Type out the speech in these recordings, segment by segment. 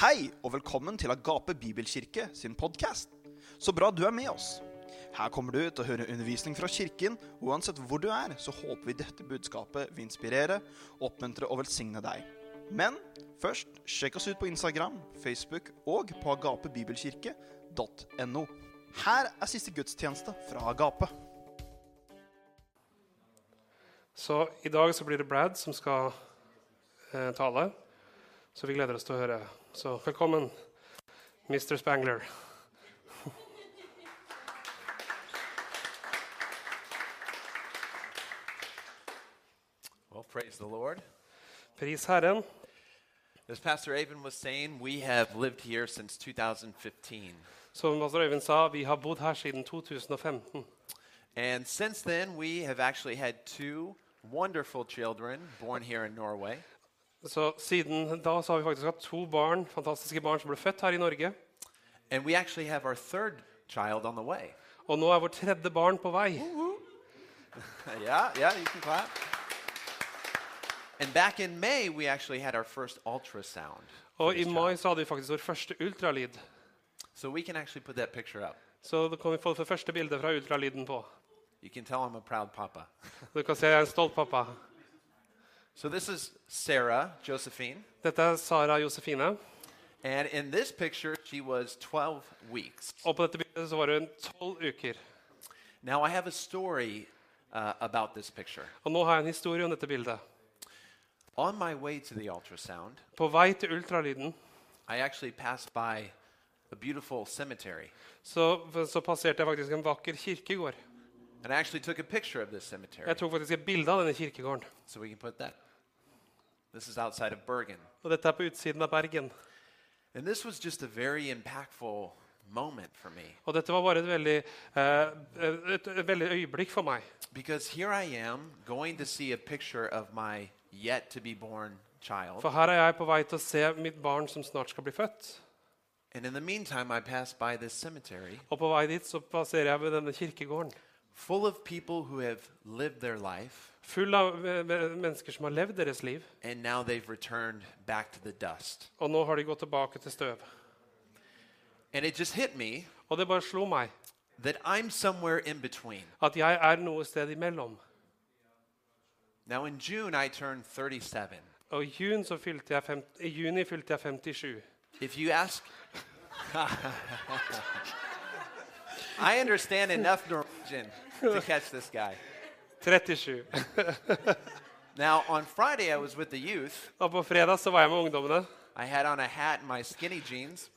Hei og velkommen til Agape Bibelkirke sin podkast. Så bra du er med oss. Her kommer du til å høre undervisning fra kirken, og uansett hvor du er, så håper vi dette budskapet vil inspirere, oppmuntre og velsigne deg. Men først, sjekk oss ut på Instagram, Facebook og på agapebibelkirke.no. Her er siste gudstjeneste fra Agape. Så i dag så blir det Brad som skal eh, tale. Så vi gleder oss til å høre. Så velkommen, Mr. Spangler. Well, praise the Lord. Pris Herren. As Pastor Avon was saying, we have lived here since 2015. Som Pastor Øyvind sa, vi har bodd her siden 2015. And since then, we have actually had two wonderful children born here in Norway. Så siden da så har vi faktisk hatt to barn, fantastiske barn som ble født her i Norge. And we actually have our third child on the way. Og nå er vårt tredje barn på vei. yeah, yeah, you can clap. And back in May, we actually had our first ultrasound. for Og i this mai child. så hadde vi faktisk vår første ultralyd. So we can actually put that picture up. Så da kan vi få det første bildet fra ultralyden på. You can tell I'm a proud papa. Du kan se jeg er en stolt pappa. So this is Sarah Josephine. Dette er Sara Josefine. And in this picture, she was 12 weeks. Og på dette bildet så var hun tolv uker. Now, I have a story uh, about this picture. Og nå har jeg en historie om dette bildet. On my way to the ultrasound, På vei til ultralyden I actually passed by a beautiful cemetery. så, så passerte jeg faktisk en vakker kirkegård. And I actually took a picture of this cemetery. Jeg tok faktisk et bilde av denne kirkegården. So we can put that. This is outside of Bergen. Og dette er på utsiden av Bergen. And this was just a very impactful moment for me Og dette var bare et veldig, eh, et, et veldig øyeblikk for meg. because here I am going to see a picture of my yet to be born child. For her er jeg på vei til å se mitt barn som snart skal bli født. And in the meantime, I passed by this cemetery Og på vei dit så passerer jeg ved denne kirkegården. full of people who have lived their life Full av eh, men- mennesker som har levd deres liv. and now they've returned back to the dust. Og nå har de gått tilbake til støv. And it just hit me Og det bare slo meg that I'm somewhere in between. at jeg er noe sted imellom. Now, in June, I turned 37. Og i juni, så fylte jeg fem, i juni fylte jeg 57. If you ask, I understand enough Norwegian to catch this guy. 37. Now, on Friday, I was with the youth. Og på fredag så var jeg med ungdommene. I had on a hat and my skinny jeans,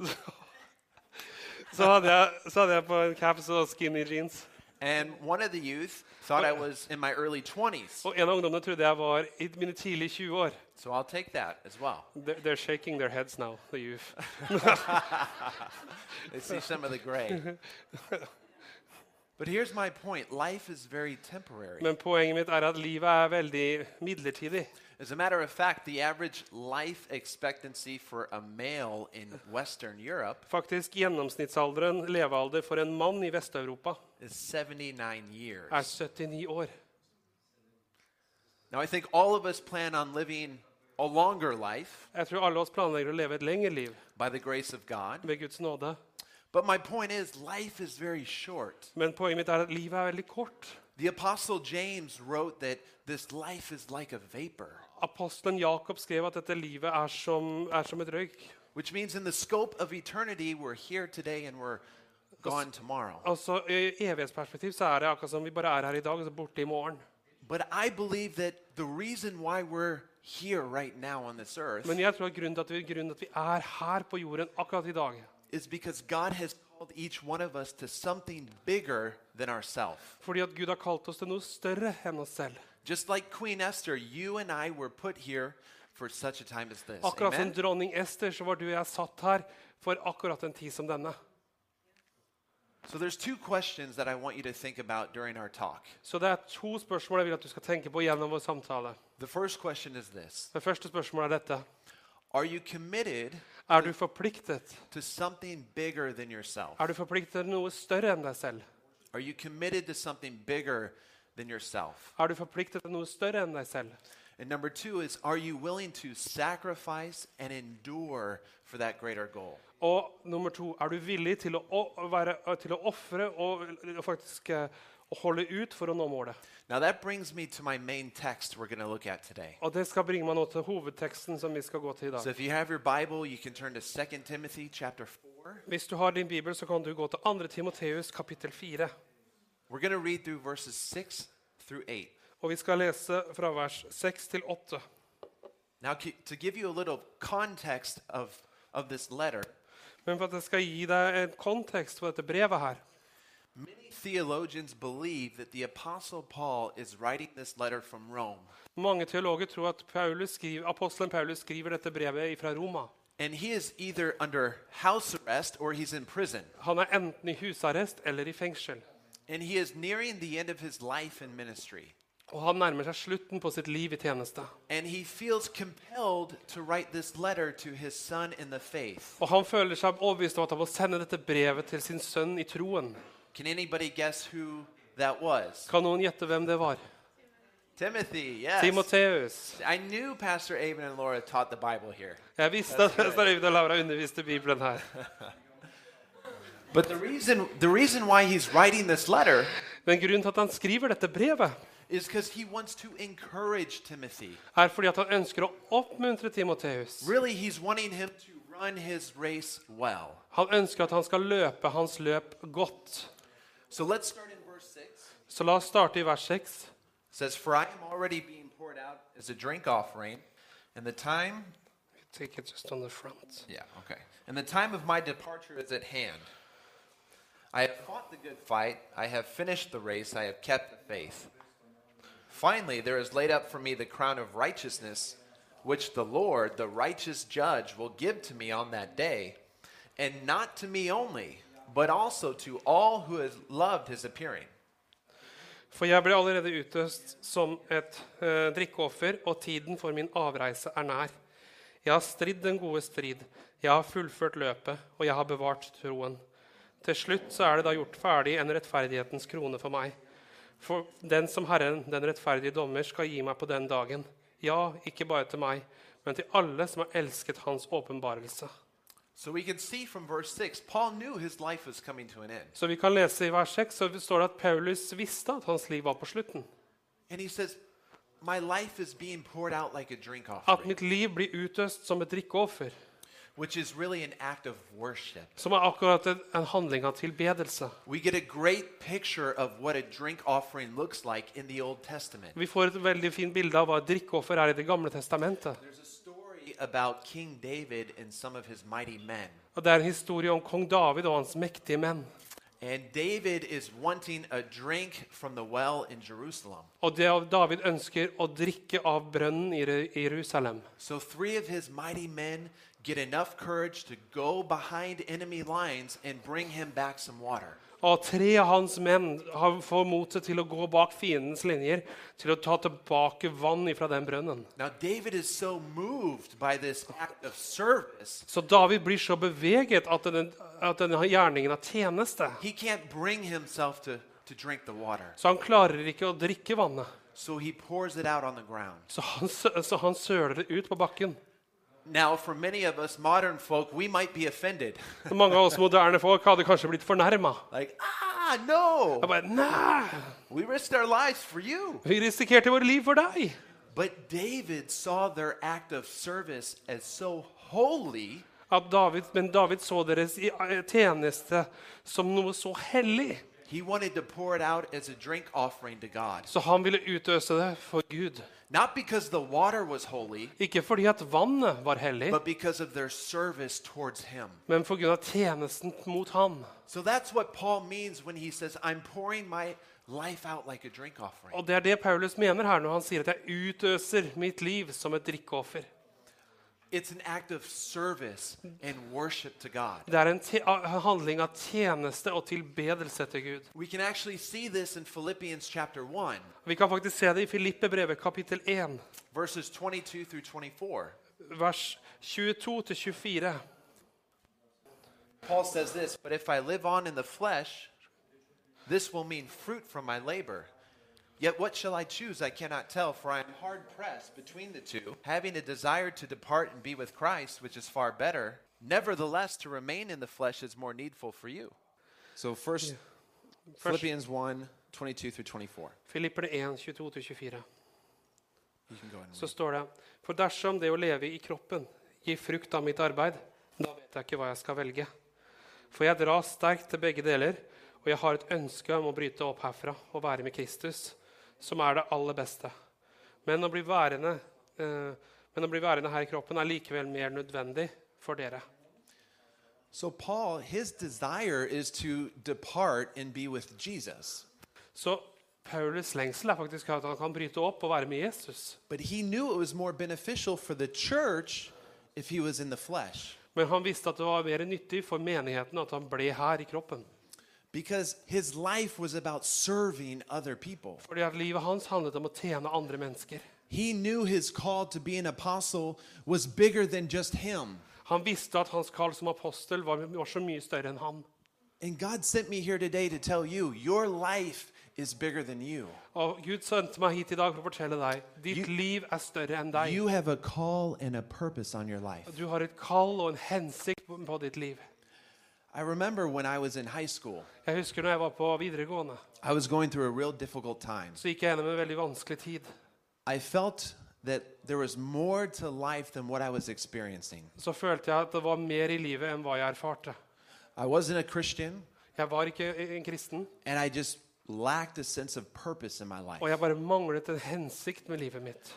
Så hadde jeg, så hadde jeg på en caps og skinny jeans. and one of the youth thought I was in my early 20s. Og en av ungdommene trodde jeg var i mine tidlige 20 år. So I'll take that as well. They're, they're shaking their heads now, the youth. They see some of the gray. But here's my point life is very temporary. Men poenget mitt er at livet er veldig midlertidig. As a matter of fact, the average life expectancy for a male in Western Europe Faktisk gjennomsnittsalderen, levealder, for en mann i Vest-Europa is 79 years. er 79 år. Now, I think all of us plan on living a longer life Jeg tror alle oss planlegger å leve et lengre liv by the grace of God. ved Guds nåde. But my point is, life is very short. Men poenget mitt er at livet er veldig kort. The Apostle James wrote that this life is like a vapor, Apostelen Jakob skrev at dette livet er som, er som et røyk. which means in the scope of eternity, we're here today and we're gone tomorrow. Altså, I evighetsperspektiv så er det akkurat som vi bare er her i dag og så borte i morgen. But I believe that the reason why we're here right now on this earth Men jeg tror at grunnen til at vi, grunnen til at vi er her på jorden akkurat i dag, is because God has called each one of us to something bigger than ourselves. fordi at Gud har kalt oss til noe større enn oss selv. Just like Queen Esther, you and I were put here for such a time as this. Akkurat som Amen? dronning Ester så var du og jeg satt her for akkurat en tid som denne. So there's two questions that I want you to think about during our talk. Så det er to spørsmål jeg vil at du skal tenke på gjennom vår samtale. The first question is this. Det første spørsmålet er dette. Are you committed Er du forpliktet? to something bigger than yourself? Er du forpliktet til noe større enn deg selv? Are you committed to something bigger than yourself? Er du forpliktet til noe større enn deg selv? And number two is, are you willing to sacrifice and endure for that greater goal? Og nummer to er du villig til å, å være, til å ofre og, og faktisk eh, å holde ut for å nå målet. Now, that brings me to my main text we're going to look at today. Og det skal bringe meg nå til hovedteksten som vi skal gå til i So dag. if you have your Bible, you can turn to 2 Timothy chapter 4. Hvis du har din bibel, så kan du gå til 2. Timoteus kapittel 4. We're going to read through verses 6 through 8. Og vi skal lese fra vers 6 til 8. Now, c- to give you a little context of, of this letter, Men for at jeg skal gi deg en kontekst på dette brevet her, many theologians believe that the Apostle Paul is writing this letter from Rome. Mange teologer tror at Paulus skriver, apostelen Paulus skriver dette brevet fra Roma. And he is either under house arrest or he's in prison. Han er enten i husarrest eller i fengsel. And he is nearing the end of his life in ministry. Og han nærmer seg slutten på sitt liv i tjeneste. And he feels compelled to write this letter to his son in the faith. Og han føler seg overbevist om at han må sende dette brevet til sin sønn i troen. Can anybody guess who that was? Kan noen gjette hvem det var? Timothy, yes. Timoteus. I knew Pastor Avon and Laura taught the Bible here. Jeg visste at Øystein Øyvind og Laura underviste Bibelen her. But the reason, the reason why he's writing this letter Men grunnen til at han skriver dette brevet, is because he wants to encourage Timothy. er fordi at han ønsker å oppmuntre Timoteus. Really, he's wanting him to run his race well. Han ønsker at han skal løpe hans løp godt. So let's start in verse 6. It Så la oss starte i vers 6. says, For I am already being poured out as a drink offering, and the time. Take it just on the front. Yeah, okay. And the time of my departure is at hand. I have fought the good fight, I have finished the race, I have kept the faith. Finally, there is laid up for me the crown of righteousness, which the Lord, the righteous judge, will give to me on that day, and not to me only, but also to all who have loved his appearing. For jeg ble allerede utøst som et eh, drikkeoffer, og tiden for min avreise er nær. Jeg har stridd den gode strid, jeg har fullført løpet, og jeg har bevart troen. Til slutt så er det da gjort ferdig en rettferdighetens krone for meg. For den som Herren, den rettferdige dommer, skal gi meg på den dagen. Ja, ikke bare til meg, men til alle som har elsket hans åpenbarelse. So we can see from verse 6, Paul knew his life was coming to an end. Så vi kan lese i vers 6, så står det at Paulus visste at hans liv var på slutten. And he says, My life is being poured out like a drink At offering, mitt liv blir utøst som et drikkeoffer. which is really an act of worship. som er akkurat en, en handling av tilbedelse. We get a great picture of what a drink offering looks like in the Old Testament. Vi får et veldig fint bilde av hva et drikkeoffer er i Det gamle testamentet. There's a story about King David and some of his mighty men. Og Det er en historie om kong David og hans mektige menn. And David is wanting a drink from the well in Jerusalem. Og det av David ønsker å drikke av brønnen i Re- i Jerusalem. So three of his mighty men get enough courage to go behind enemy lines and bring him back some water. Og tre av hans menn har får motet til å gå bak fiendens linjer til å ta tilbake vann ifra den brønnen. Now, David is so moved by this act of service, Så David blir så beveget at denne, at denne gjerningen er tjeneste. he can't bring himself to, to drink the water. Så han klarer ikke å drikke vannet. So he pours it out on the ground. Så han, sø- så han søler det ut på bakken. Now, for many of us modern folk, we might be offended. Så Mange av oss moderne folk hadde kanskje blitt fornærma. like, ah, no, Nei! we risked our lives for you. Vi risikerte vårt liv for deg! But David saw their act of service as so holy At David, men David så deres i- eh, tjeneste som noe så hellig. He wanted to pour it out as a drink offering to God. Så han ville utøse det for Gud. Not because the water was holy, Ikke fordi at vannet var hellig, but because of their service towards Him. men på grunn av tjenesten mot han. So that's what Paul means when he says, I'm pouring my life out like a drink offering. Og det er det Paulus mener her når han sier at jeg utøser mitt liv som et drikkeoffer. It's an act of service and worship to God. Det er en, te en handling av tjeneste og tilbedelse til Gud. We can actually see this in Philippians chapter 1, Vi kan faktisk se det i Filippe-brevet kapittel 1. verses 22 through 24. vers 22-24. Paul says this, but if I live on in the flesh, this will mean fruit from my labor. Yet what shall I choose? I cannot tell, for I am hard pressed between the two, having a desire to depart and be with Christ, which is far better. Nevertheless, to remain in the flesh is more needful for you. So, first, Philippians 1 22 through 24. Filipper 1, 22-24. You can go ahead and så står det For dersom det å leve i kroppen gir frukt av mitt arbeid, da vet jeg ikke hva jeg skal velge. For jeg dras sterkt til begge deler, og jeg har et ønske om å bryte opp herfra og være med Kristus, som er det aller beste. Men å bli værende, eh, men å bli værende her i kroppen er likevel mer nødvendig for dere. So, Paul, his desire is to depart and be with Jesus. Så Paulus' lengsel er faktisk at han kan bryte opp og være med Jesus. But he knew it was more beneficial for the church if he was in the flesh Men han visste at det var mer nyttig for menigheten at han ble her i kroppen. because his life was about serving other people. Fordi at livet hans handlet om å tjene andre mennesker. He knew his call to be an apostle was bigger than just him. Han visste at hans kall som apostel var, var så mye større enn han. And God sent me here today to tell you your life is bigger than you. Og Gud sendte meg hit i dag for å fortelle deg ditt You- liv er større enn deg. You have a call and a purpose on your life. Du har et kall og en hensikt på, på ditt liv. I remember when I was in high school, Jeg husker når jeg var på videregående, I was going through a real difficult time. så gikk jeg gjennom en veldig vanskelig tid. I felt that there was more to life than what I was experiencing. Så følte jeg at det var mer i livet enn hva jeg erfarte. I wasn't a Christian, Jeg var ikke en kristen, and I just lacked a sense of purpose in my life. og jeg bare manglet en hensikt med livet mitt.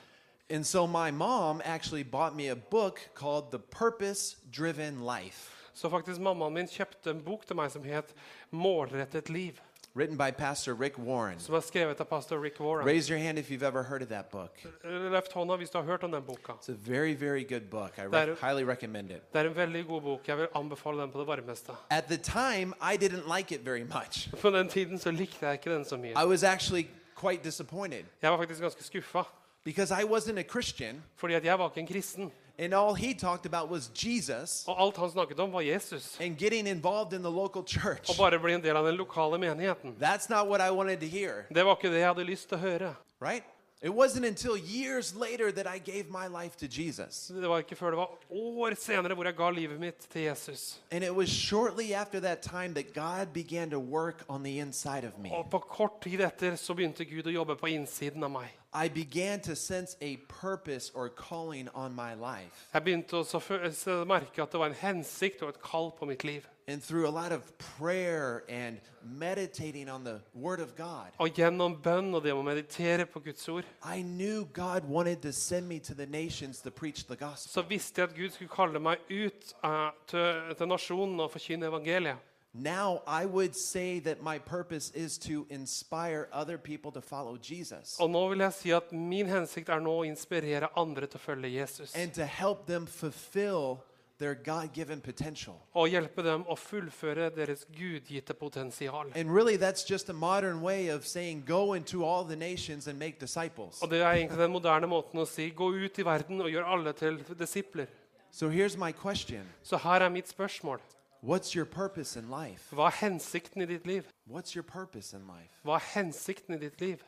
And so my mom actually bought me a book called The Purpose Driven Life, Så faktisk mammaen min kjøpte en bok til meg som het 'Målrettet liv', written by Pastor Rick Warren. som er skrevet av pastor Rick Warren. Raise your hand if you've ever heard of that book. Løft hånda hvis du har hørt om den boka. It's a very, very good book. I That- rec- highly recommend it. Det er en veldig god bok. Jeg vil anbefale den på det varmeste. At the time, I didn't like it very much. På den tiden så likte jeg ikke den så mye. I was actually quite disappointed Jeg var faktisk ganske skuffa, because I wasn't a Christian, fordi at jeg var ikke en kristen. and all he talked about was Jesus Og alt han snakket om, var Jesus. and getting involved in the local church. Og bare bli en del av den lokale menigheten. That's not what I wanted to hear, Det var ikke det jeg hadde lyst til å høre. right? It wasn't until years later that I gave my life to Jesus. Det var ikke før det var år senere hvor jeg ga livet mitt til Jesus. And it was shortly after that time that God began to work on the inside of me. Og på kort tid etter så begynte Gud å jobbe på innsiden av meg. I began to sense a purpose or calling on my life. Jeg begynte også å fø- å merke at det var en hensikt og et kall på mitt liv. And through a lot of prayer and meditating on the Word of God, Og gjennom bønn og det å meditere på Guds ord, I knew God wanted to send me to the nations to preach the gospel. så visste jeg at Gud skulle kalle meg ut eh, til, til nasjonen og forkynne evangeliet. Now I would say that my purpose is to inspire other people to follow Jesus Og nå vil jeg si at min hensikt er nå å inspirere andre til å følge Jesus. and to help them fulfill their God given potential. Og hjelpe dem å fullføre deres gudgitte potensial. And really, that's just a modern way of saying go into all the nations and make disciples. Og det er egentlig den moderne måten å si gå ut i verden og gjør alle til disipler. So here's my question Så her er mitt spørsmål. What's your purpose in life? Hva er hensikten i ditt liv? What's your purpose in life? Hva er hensikten i ditt liv?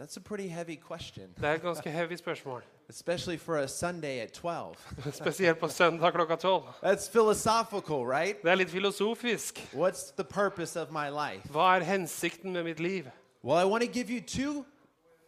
That's a pretty heavy question, Det er et ganske heavy spørsmål. especially for a Sunday at 12. Spesielt på søndag klokka tolv. That's philosophical, right? Det er litt filosofisk. What's the purpose of my life? Hva er hensikten med mitt liv? Well, I want to give you two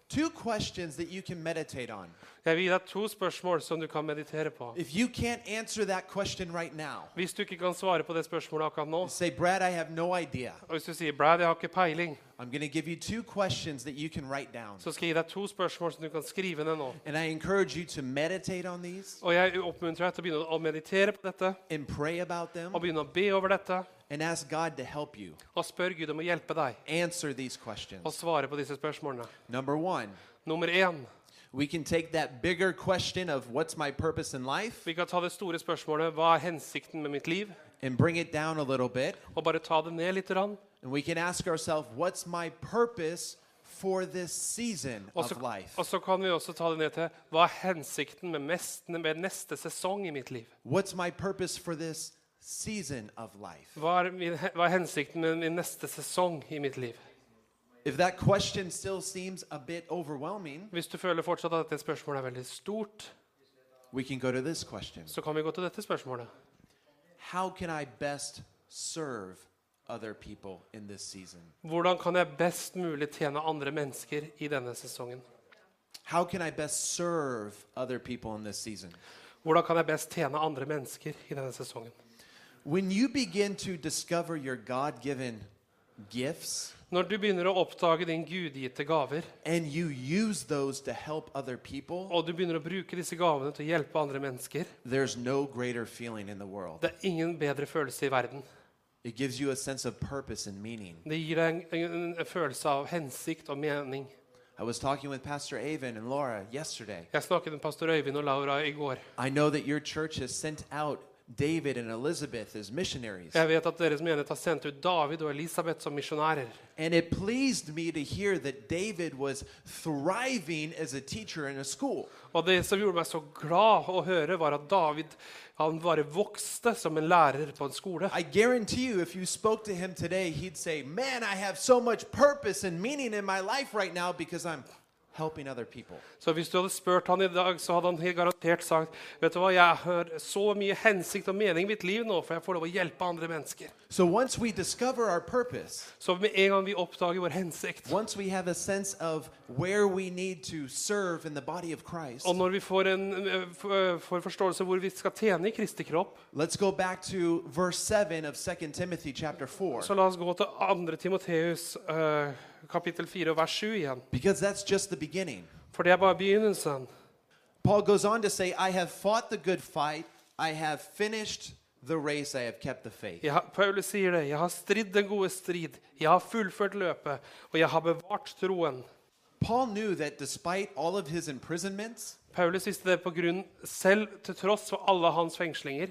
two questions that you can meditate on. Jeg vil gi deg to spørsmål som du kan meditere på. If you can't answer that question right now, Hvis du ikke kan svare på det spørsmålet akkurat nå, say, "Brad, I have no idea." og hvis du sier 'Brad, jeg har ikke peiling', I'm going to give you two questions that you can write down. så skal jeg gi deg to spørsmål som du kan skrive ned nå. And I encourage you to meditate on these Og jeg oppmuntrer deg til å begynne å meditere på dette, and pray about them og begynne å be over dette, and ask God to help you og spør Gud om å hjelpe deg answer these å questions. svare på disse spørsmålene. Number 1, Nummer én. we can take that bigger question of what's my purpose in life Vi kan ta det store spørsmålet 'Hva er hensikten med mitt liv?' and bring it down a little bit og bare ta det ned litt. Rann. and we can ask ourselves what's my purpose for this season Og så, of life? og så kan vi også ta det ned til 'Hva er hensikten med, mest, med neste sesong i mitt liv?' What's my purpose for this season of life? Hva er, min, hva er hensikten med min neste sesong i mitt liv? If that question still seems a bit overwhelming, Hvis du føler fortsatt at dette spørsmålet er veldig stort, we can go to this question så kan vi gå til dette spørsmålet. How can I best serve other people in this season? Hvordan kan jeg best mulig tjene andre mennesker i denne sesongen? How can I best serve other people in this season? Hvordan kan jeg best tjene andre mennesker i denne sesongen? When you begin to discover your God given gifts Når du begynner å oppdage din gudgitte gaver, and you use those to help other people, og du begynner å bruke disse gavene til å hjelpe andre mennesker, there's no greater feeling in the world. det er ingen bedre følelse i verden. It gives you a sense of purpose and meaning. Det gir deg en, en, en følelse av hensikt og mening. I was talking with Pastor Avon and Laura yesterday. Jeg snakket med pastor Øyvind og Laura i går. I know that your church has sent out David and Elizabeth as missionaries. Jeg vet at deres menighet har sendt ut David og Elisabeth som misjonærer. And it pleased me to hear that David was thriving as a teacher in a school. Og det som gjorde meg så glad å høre, var at David han bare vokste som en lærer på en skole. I guarantee you, if you spoke to him today, he'd say, Man, I have so much purpose and meaning in my life right now because I'm helping other people. Så hvis du hadde spurt han i dag, så hadde han helt garantert sagt Vet du hva, jeg har så mye hensikt og mening i mitt liv nå, for jeg får lov å hjelpe andre mennesker. So once we discover our purpose, Så med en gang vi oppdager vår hensikt, once we have a sense of where we need to serve in the body of Christ, og når vi får en eh, f- eh, får forståelse hvor vi skal tjene i Kristi kropp, let's go back to verse 7 of 2 Timothy chapter 4. så la oss gå til 2. Timoteus eh, kapittel 4 og vers 7 igjen. Because that's just the beginning. For det er bare begynnelsen. Paul goes on to say, I have fought the good fight, I have finished the race, I have kept the faith. Jeg har, Paulus sier det. 'Jeg har stridd den gode strid. Jeg har fullført løpet, og jeg har bevart troen.' Paul knew that despite all of his imprisonments, Paulus visste det på grunn selv til tross for alle hans fengslinger,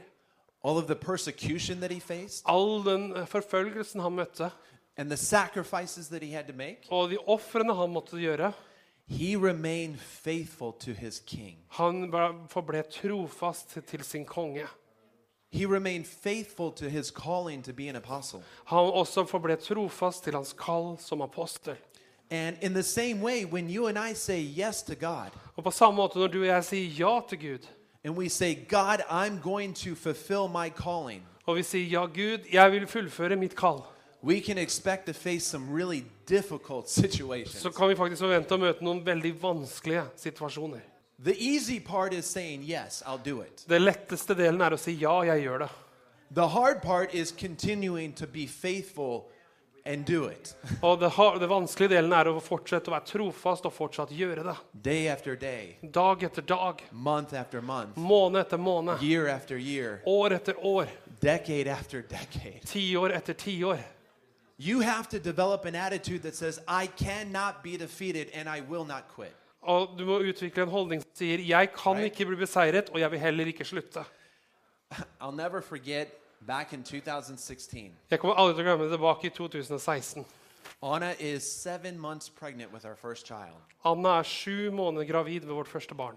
all of the persecution that he faced, all den eh, forfølgelsen han møtte, and the sacrifices that he had to make, og de ofrene han måtte gjøre. he remained faithful to his king. Han ble- forble trofast til sin konge. He remained faithful to his calling to be an apostle. Han også forble trofast til hans kall som apostel. And in the same way, when you and I say yes to God, Og på samme måte når du og jeg sier ja til Gud, and we say, God, I'm going to fulfill my calling, og vi sier 'Ja, Gud, jeg vil fullføre mitt kall', we can expect to face some really difficult situations. så kan vi faktisk forvente å møte noen veldig vanskelige situasjoner. The easy part is saying, Yes, I'll do it. Det letteste delen er å si ja, jeg gjør det. The hard part is continuing to be faithful and do it Og det, har, det vanskelige delen er å fortsette å være trofast og fortsatt gjøre det. day after day, Dag etter dag, month after month, måned etter måned, year after year, år etter år, decade after decade. tiår etter tiår. You have to develop an attitude that says, I cannot be defeated and I will not quit. Og du må utvikle en holdning som sier 'jeg kan ikke bli beseiret, og jeg vil heller ikke slutte'. I'll never forget back in 2016. Jeg kommer aldri til å glemme det tilbake i 2016. Anna is seven months pregnant with our first child. Anna er sju måneder gravid med vårt første barn.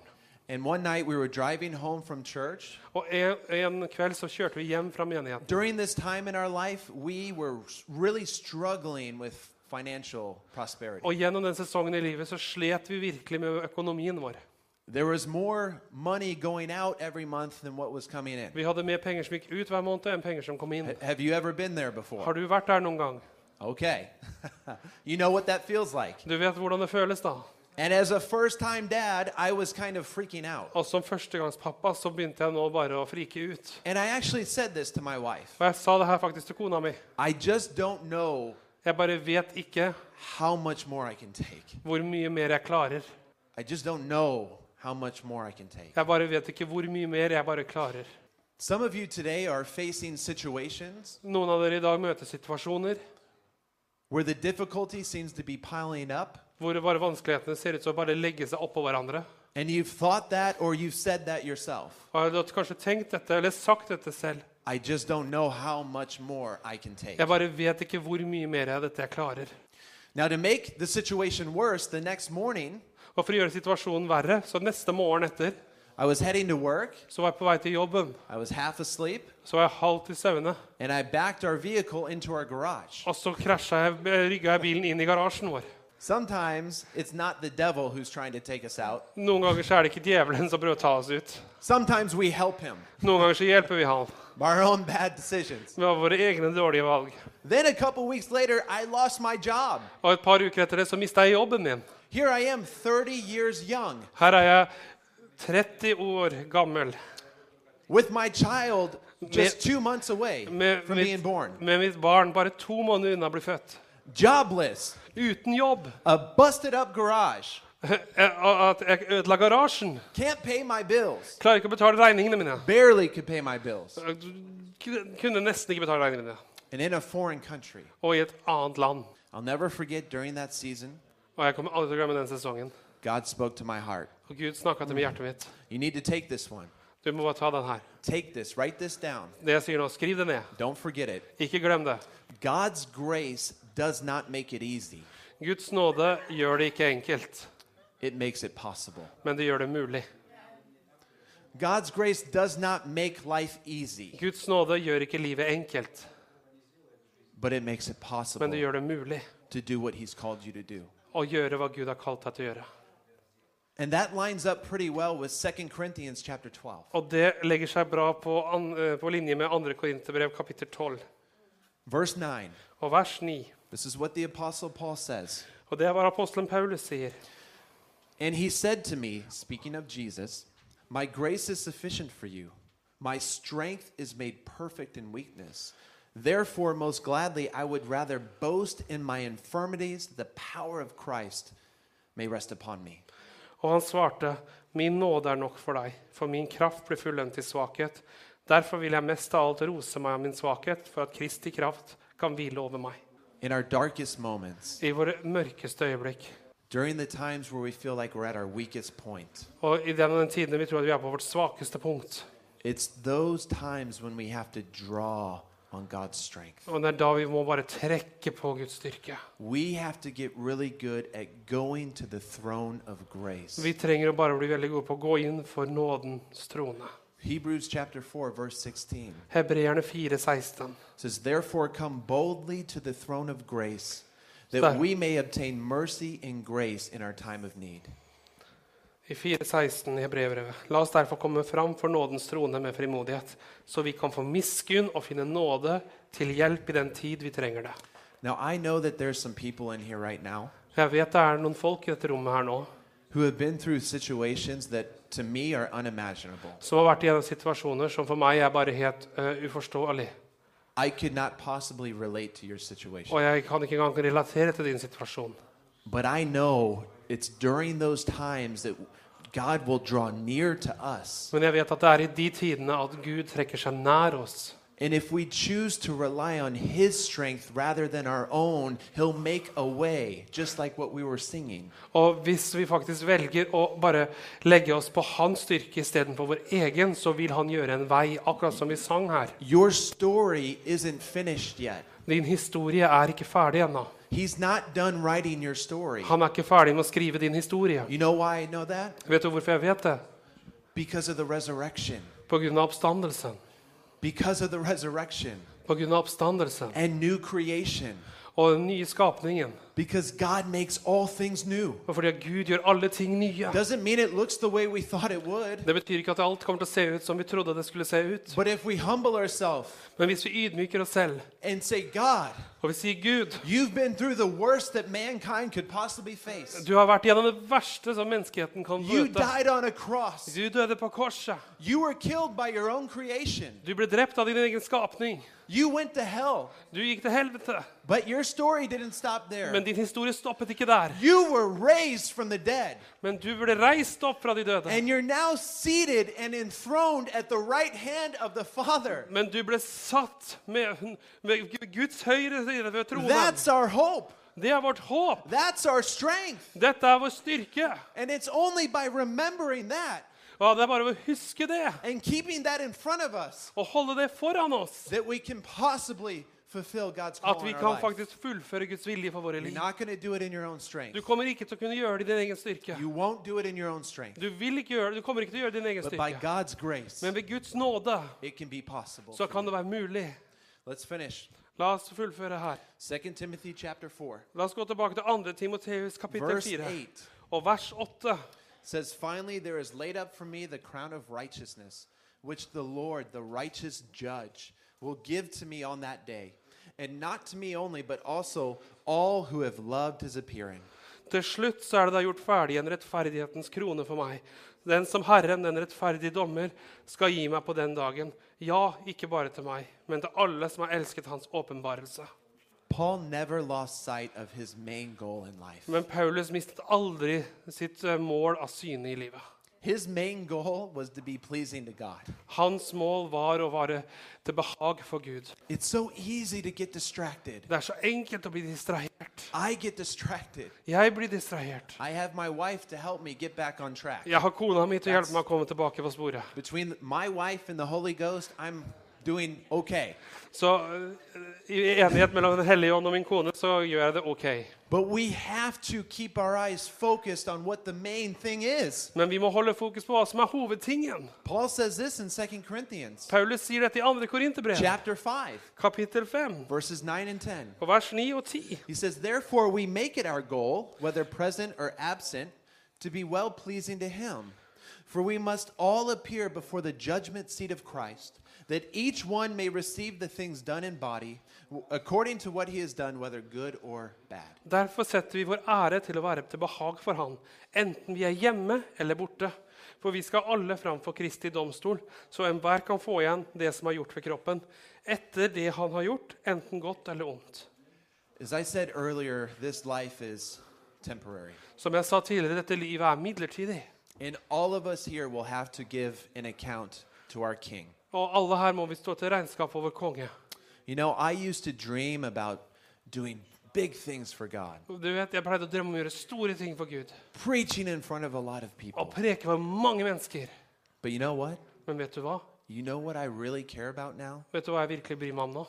And one night we were driving home from church. Og en, en kveld så kjørte vi hjem fra menigheten. During this time in our life, we were really struggling with financial prosperity. Og gjennom den sesongen i livet så slet vi virkelig med økonomien vår. There was more money going out every month than what was coming in. Vi hadde mer penger som gikk ut hver måned, enn penger som kom inn. H- Have you ever been there before? Har du vært der noen gang? Okay. you know what that feels like. Du vet hvordan det føles, da. And as a first time dad, I was kind of freaking out. Og som førstegangspappa så begynte jeg nå bare å frike ut. And I actually said this to my wife Og jeg sa det her faktisk til kona mi. I just don't know Jeg bare vet ikke how much more I can take. hvor mye mer jeg klarer. I just don't know how much more I can take. Jeg bare vet ikke hvor mye mer jeg bare klarer. Some of you today are facing situations Noen av dere i dag møter situasjoner where the difficulty seems to be piling up, hvor bare vanskelighetene ser ut som å bare legge seg oppå hverandre. and you've thought that or you've said that yourself. Og jeg har kanskje tenkt dette, eller sagt dette selv. I just don't know how much more I can take. Jeg bare vet ikke hvor mye mer jeg dette jeg klarer. Now, to make the situation worse, the next morning, Og for å gjøre situasjonen verre, så neste morgen etter I I was heading to work. Så var jeg på vei til jobben. I was half asleep, Så var jeg halvt i søvne. and I backed our vehicle into our garage. Og så krasja jeg, rygga jeg bilen inn i garasjen vår. Sometimes it's not the devil who's trying to take us out. Noen ganger så er det ikke djevelen som prøver å ta oss ut. Sometimes we help him Noen ganger så hjelper vi han by our own bad decisions. med våre egne dårlige valg. Then a couple weeks later, I lost my job. Og et par uker etter det så mista jeg jobben min. Here I am, 30 years young, Her er jeg 30 år gammel with my child just two months away med, from being mitt, born, med mitt barn bare to måneder unna å bli født. jobless, Uten jobb. a busted up garage, Jeg- At jeg ødela garasjen. can't pay my bills, Klarer ikke å betale regningene mine. barely could pay my bills, Jeg Kunne nesten ikke betale regningene mine. and in a foreign country. Og i et annet land. I'll never forget during that season, Og jeg kommer aldri til å glemme den sesongen. God spoke to my heart. Og Gud snakka til meg i hjertet mitt. You need to take this one. Du må bare ta den her. Take this, write this down. Det jeg sier nå, skriv det ned. Don't forget it. Ikke glem det. God's grace does not make it easy, Guds nåde gjør det ikke enkelt, it makes it possible. men det gjør det mulig. God's grace does not make life easy, Guds nåde gjør ikke livet enkelt, but it makes it possible men det gjør det mulig to do what He's called you to do. å gjøre hva Gud har kalt deg til å gjøre. And that lines up pretty well with 2 Corinthians chapter 12. Og det legger seg bra på, an, eh, på linje med 2. Korinterbrev kapittel 12 Verse 9. og vers 9. This is what the Apostle Paul says. Og det er hva apostelen Paulus sier. And he said to me, speaking of Jesus, My grace is sufficient for you. My strength is made perfect in weakness. Therefore, most gladly, I would rather boast in my infirmities, that the power of Christ may rest upon me. Og han svarte, Min nåde er nok for deg, for min kraft blir fullendt i svakhet. Derfor vil jeg mest av alt rose meg av min svakhet, for at Kristi kraft kan hvile over meg. In our darkest moments, I våre mørkeste øyeblikk, during the times where we feel like we're at our weakest point, og i den den tiden vi tror at vi er på vårt svakeste punkt, it's those times when we have to draw on God's strength. og det er da vi må bare trekke på Guds styrke. We have to get really good at going to the throne of grace. Vi trenger å bare bli veldig gode på å gå inn for nådens trone. Hebrews chapter 4 verse 16 Hebreerne 4,16. says therefore come boldly to the throne of grace that Sir. we may obtain mercy and grace in our time of need. I 4,16 i Hebreerbrevet. La oss derfor komme fram for nådens trone med frimodighet, så vi kan få miskunn og finne nåde til hjelp i den tid vi trenger det. Now I know that there's some people in here right now Jeg vet det er noen folk i dette rommet her nå who have been through situations that to me are unimaginable. som har vært igjennom situasjoner som for meg er bare helt eh, uforståelig. I could not possibly relate to your Og situation. jeg kan ikke engang relatere til din situasjon. But I know it's during those times that God will draw near to us. Men jeg vet at det er i de tidene at Gud trekker seg nær oss. And if we choose to rely on His strength rather than our own, He'll make a way, just like what we were singing. Og hvis vi faktisk velger å bare legge oss på hans styrke istedenfor vår egen, så vil han gjøre en vei, akkurat som vi sang her. Your story isn't finished yet. Din historie er ikke ferdig ennå. He's not done writing your story. Han er ikke ferdig med å skrive din historie. You know why I know that? Vet du hvorfor jeg vet det? Because of the resurrection. På grunn av oppstandelsen. Because of the resurrection På grunn av oppstandelsen and new creation. og den nye skapningen. Because God makes all things new. Og fordi at Gud gjør alle ting nye. Doesn't mean it looks the way we thought it would. Det betyr ikke at alt kommer til å se ut som vi trodde det skulle se ut. But if we humble ourselves Men hvis vi ydmyker oss selv, and say, God, og vi sier Gud you've been through the worst that mankind could possibly face. Du har vært gjennom det verste som menneskeheten kan You møte. died on a cross. Du døde på korset. You were killed by your own creation. Du ble drept av din egen skapning. You went to hell. Du gikk til helvete. But your story didn't stop Men there. din historie stoppet ikke der. You were raised from the dead, Men du ble reist opp fra de døde. and you're now seated and enthroned at the right hand of the Father. Men du ble satt med, med Guds høyre side ved tronen. That's our hope. Det er vårt håp. That's our strength. Dette er vår styrke. And it's only by remembering that Og det er bare å huske det and keeping that in front of us og holde det foran oss. that we can possibly fulfill God's call At vi in our kan life. faktisk fullføre Guds vilje for våre You're liv. not going to do it in your own strength. Du kommer ikke til å kunne gjøre det i din egen styrke. You won't do it in your own strength. Du, vil ikke gjøre, du kommer ikke til å gjøre det i din egen But by styrke. God's grace, Men ved Guds nåde it can be possible. så for kan you. det være mulig. Let's finish. La oss fullføre her. 2 Timothy chapter 4, La oss gå tilbake til 2. Timoteus kapittel verse 4 8 og vers 8. says, Finally, there is laid up for me the crown of righteousness, which the Lord, the righteous judge, will give to me on that day. And not to me only, but also all who have loved his appearing. Til slutt så er det da gjort ferdig en rettferdighetens krone for meg. Den som Herren, den rettferdige dommer, skal gi meg på den dagen. Ja, ikke bare til meg, men til alle som har elsket hans åpenbarelse. Paul never lost sight of his main goal in life. Men Paulus mistet aldri sitt eh, mål av syne i livet. His main goal was to be pleasing to God. Hans mål var å være til behag for Gud. It's so easy to get distracted. Det er så enkelt å bli distrahert. I get distracted. Jeg blir distrahert. I have my wife to help me get back on track. Jeg har kona mi til å hjelpe meg å komme tilbake på sporet. Between my wife and the Holy Ghost, I'm doing okay. Så eh, i enighet mellom Den hellige ånd og min kone så gjør jeg det ok. But we have to keep our eyes focused on what the main thing is. Men vi må holde fokus på hva som er hovedtingen. Paul says this in 2 Corinthians Paulus sier dette i 2. Korinterbrev, chapter 5, kapittel 5, verses 9 and 10. og vers 9 og 10. He says, Therefore, we make it our goal, whether present or absent, to be well pleasing to Him. For we must all appear before the judgment seat of Christ, that each one may receive the things done in body, w- according to what he has done, whether good or bad. Derfor setter vi vår ære til å være til behag for Han, enten vi er hjemme eller borte. For vi skal alle fram for Kristi domstol, så enhver kan få igjen det som er gjort ved kroppen, etter det han har gjort, enten godt eller ondt. As I said earlier, this life is temporary. Som jeg sa tidligere, dette livet er midlertidig. And all of us here will have to give an account to our King. Og alle her må vi stå til regnskap over konge. You know, I used to dream about doing big things for God, Du vet, Jeg pleide å drømme om å gjøre store ting for Gud. preaching in front of a lot of people. Og preke for mange mennesker. But you know what? Men vet du hva? You know what I really care about now? Vet du hva jeg virkelig bryr meg om nå?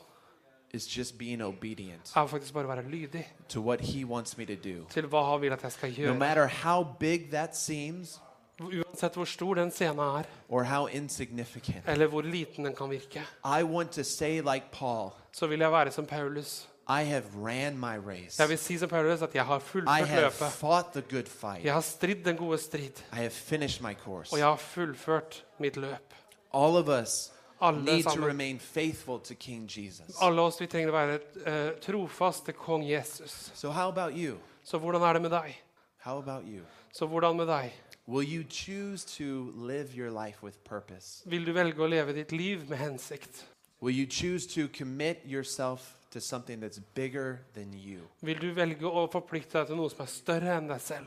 Is just being obedient Er faktisk bare å være lydig to what He wants me to do. til hva han vil at jeg skal No gjøre. matter how big that seems Uansett hvor stor den scenen er, or how insignificant, eller hvor liten den kan virke, I want to say, like Paul, så vil jeg være som Paulus. I have ran my race. Jeg vil si som Paulus at jeg har I fullført have løpet. fought the good fight. Jeg har stridd den gode strid, I have finished my course. og jeg har fullført mitt løp. All of us Alle need to sammen. remain faithful to King Jesus. Alle oss vi trenger å være eh, trofaste kong Jesus. So, how about you? Så hvordan er det med deg? How about you? Så hvordan med deg? Will you choose to live your life with purpose? Vil du velge å leve ditt liv med hensikt? Will you choose to commit yourself to something that's bigger than you? Vil du velge å forplikte deg til noe som er større enn deg selv?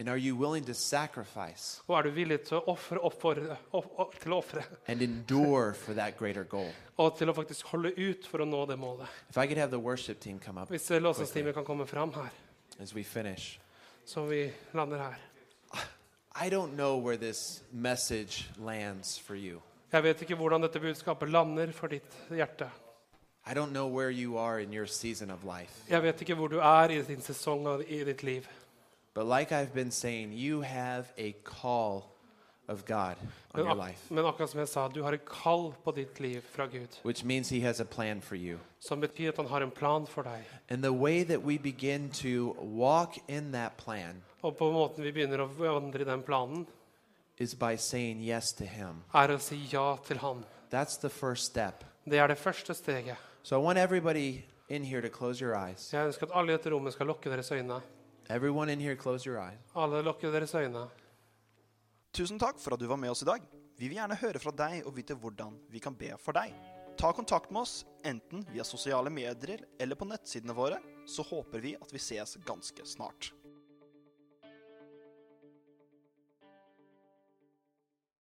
And are you willing to sacrifice Og er du villig til å ofre, oppfordre, opp, opp, til å ofre and endure for that greater goal? og til å faktisk holde ut for å nå det målet? If I could have the worship team come up Hvis låsingsteamet kan komme fram her, as we finish. så vi lander her. I don't know where this message lands for you. Jeg vet ikke hvordan dette budskapet lander for ditt hjerte. I don't know where you are in your season of life. Jeg vet ikke hvor du er i din sesong og i ditt liv. But like I've been saying, you have a call of God on Men, your ak life, men akkurat som jeg sa, du har et kall på ditt liv fra Gud, which means He has a plan for you. som betyr at han har en plan for deg. And the way that we begin to walk in that plan Og på måten vi begynner å vandre i den planen, is by saying yes to Him. er å si ja til han. That's the first step. Det er det første steget. So I want everybody in here to close your eyes. Så jeg ønsker at alle i dette rommet skal lukke deres øyne. Everyone in here, close your eyes. Alle lukker deres øyne. Tusen takk for at du var med oss i dag. Vi vil gjerne høre fra deg og vite hvordan vi kan be for deg. Ta kontakt med oss enten via sosiale medier eller på nettsidene våre, så håper vi at vi ses ganske snart.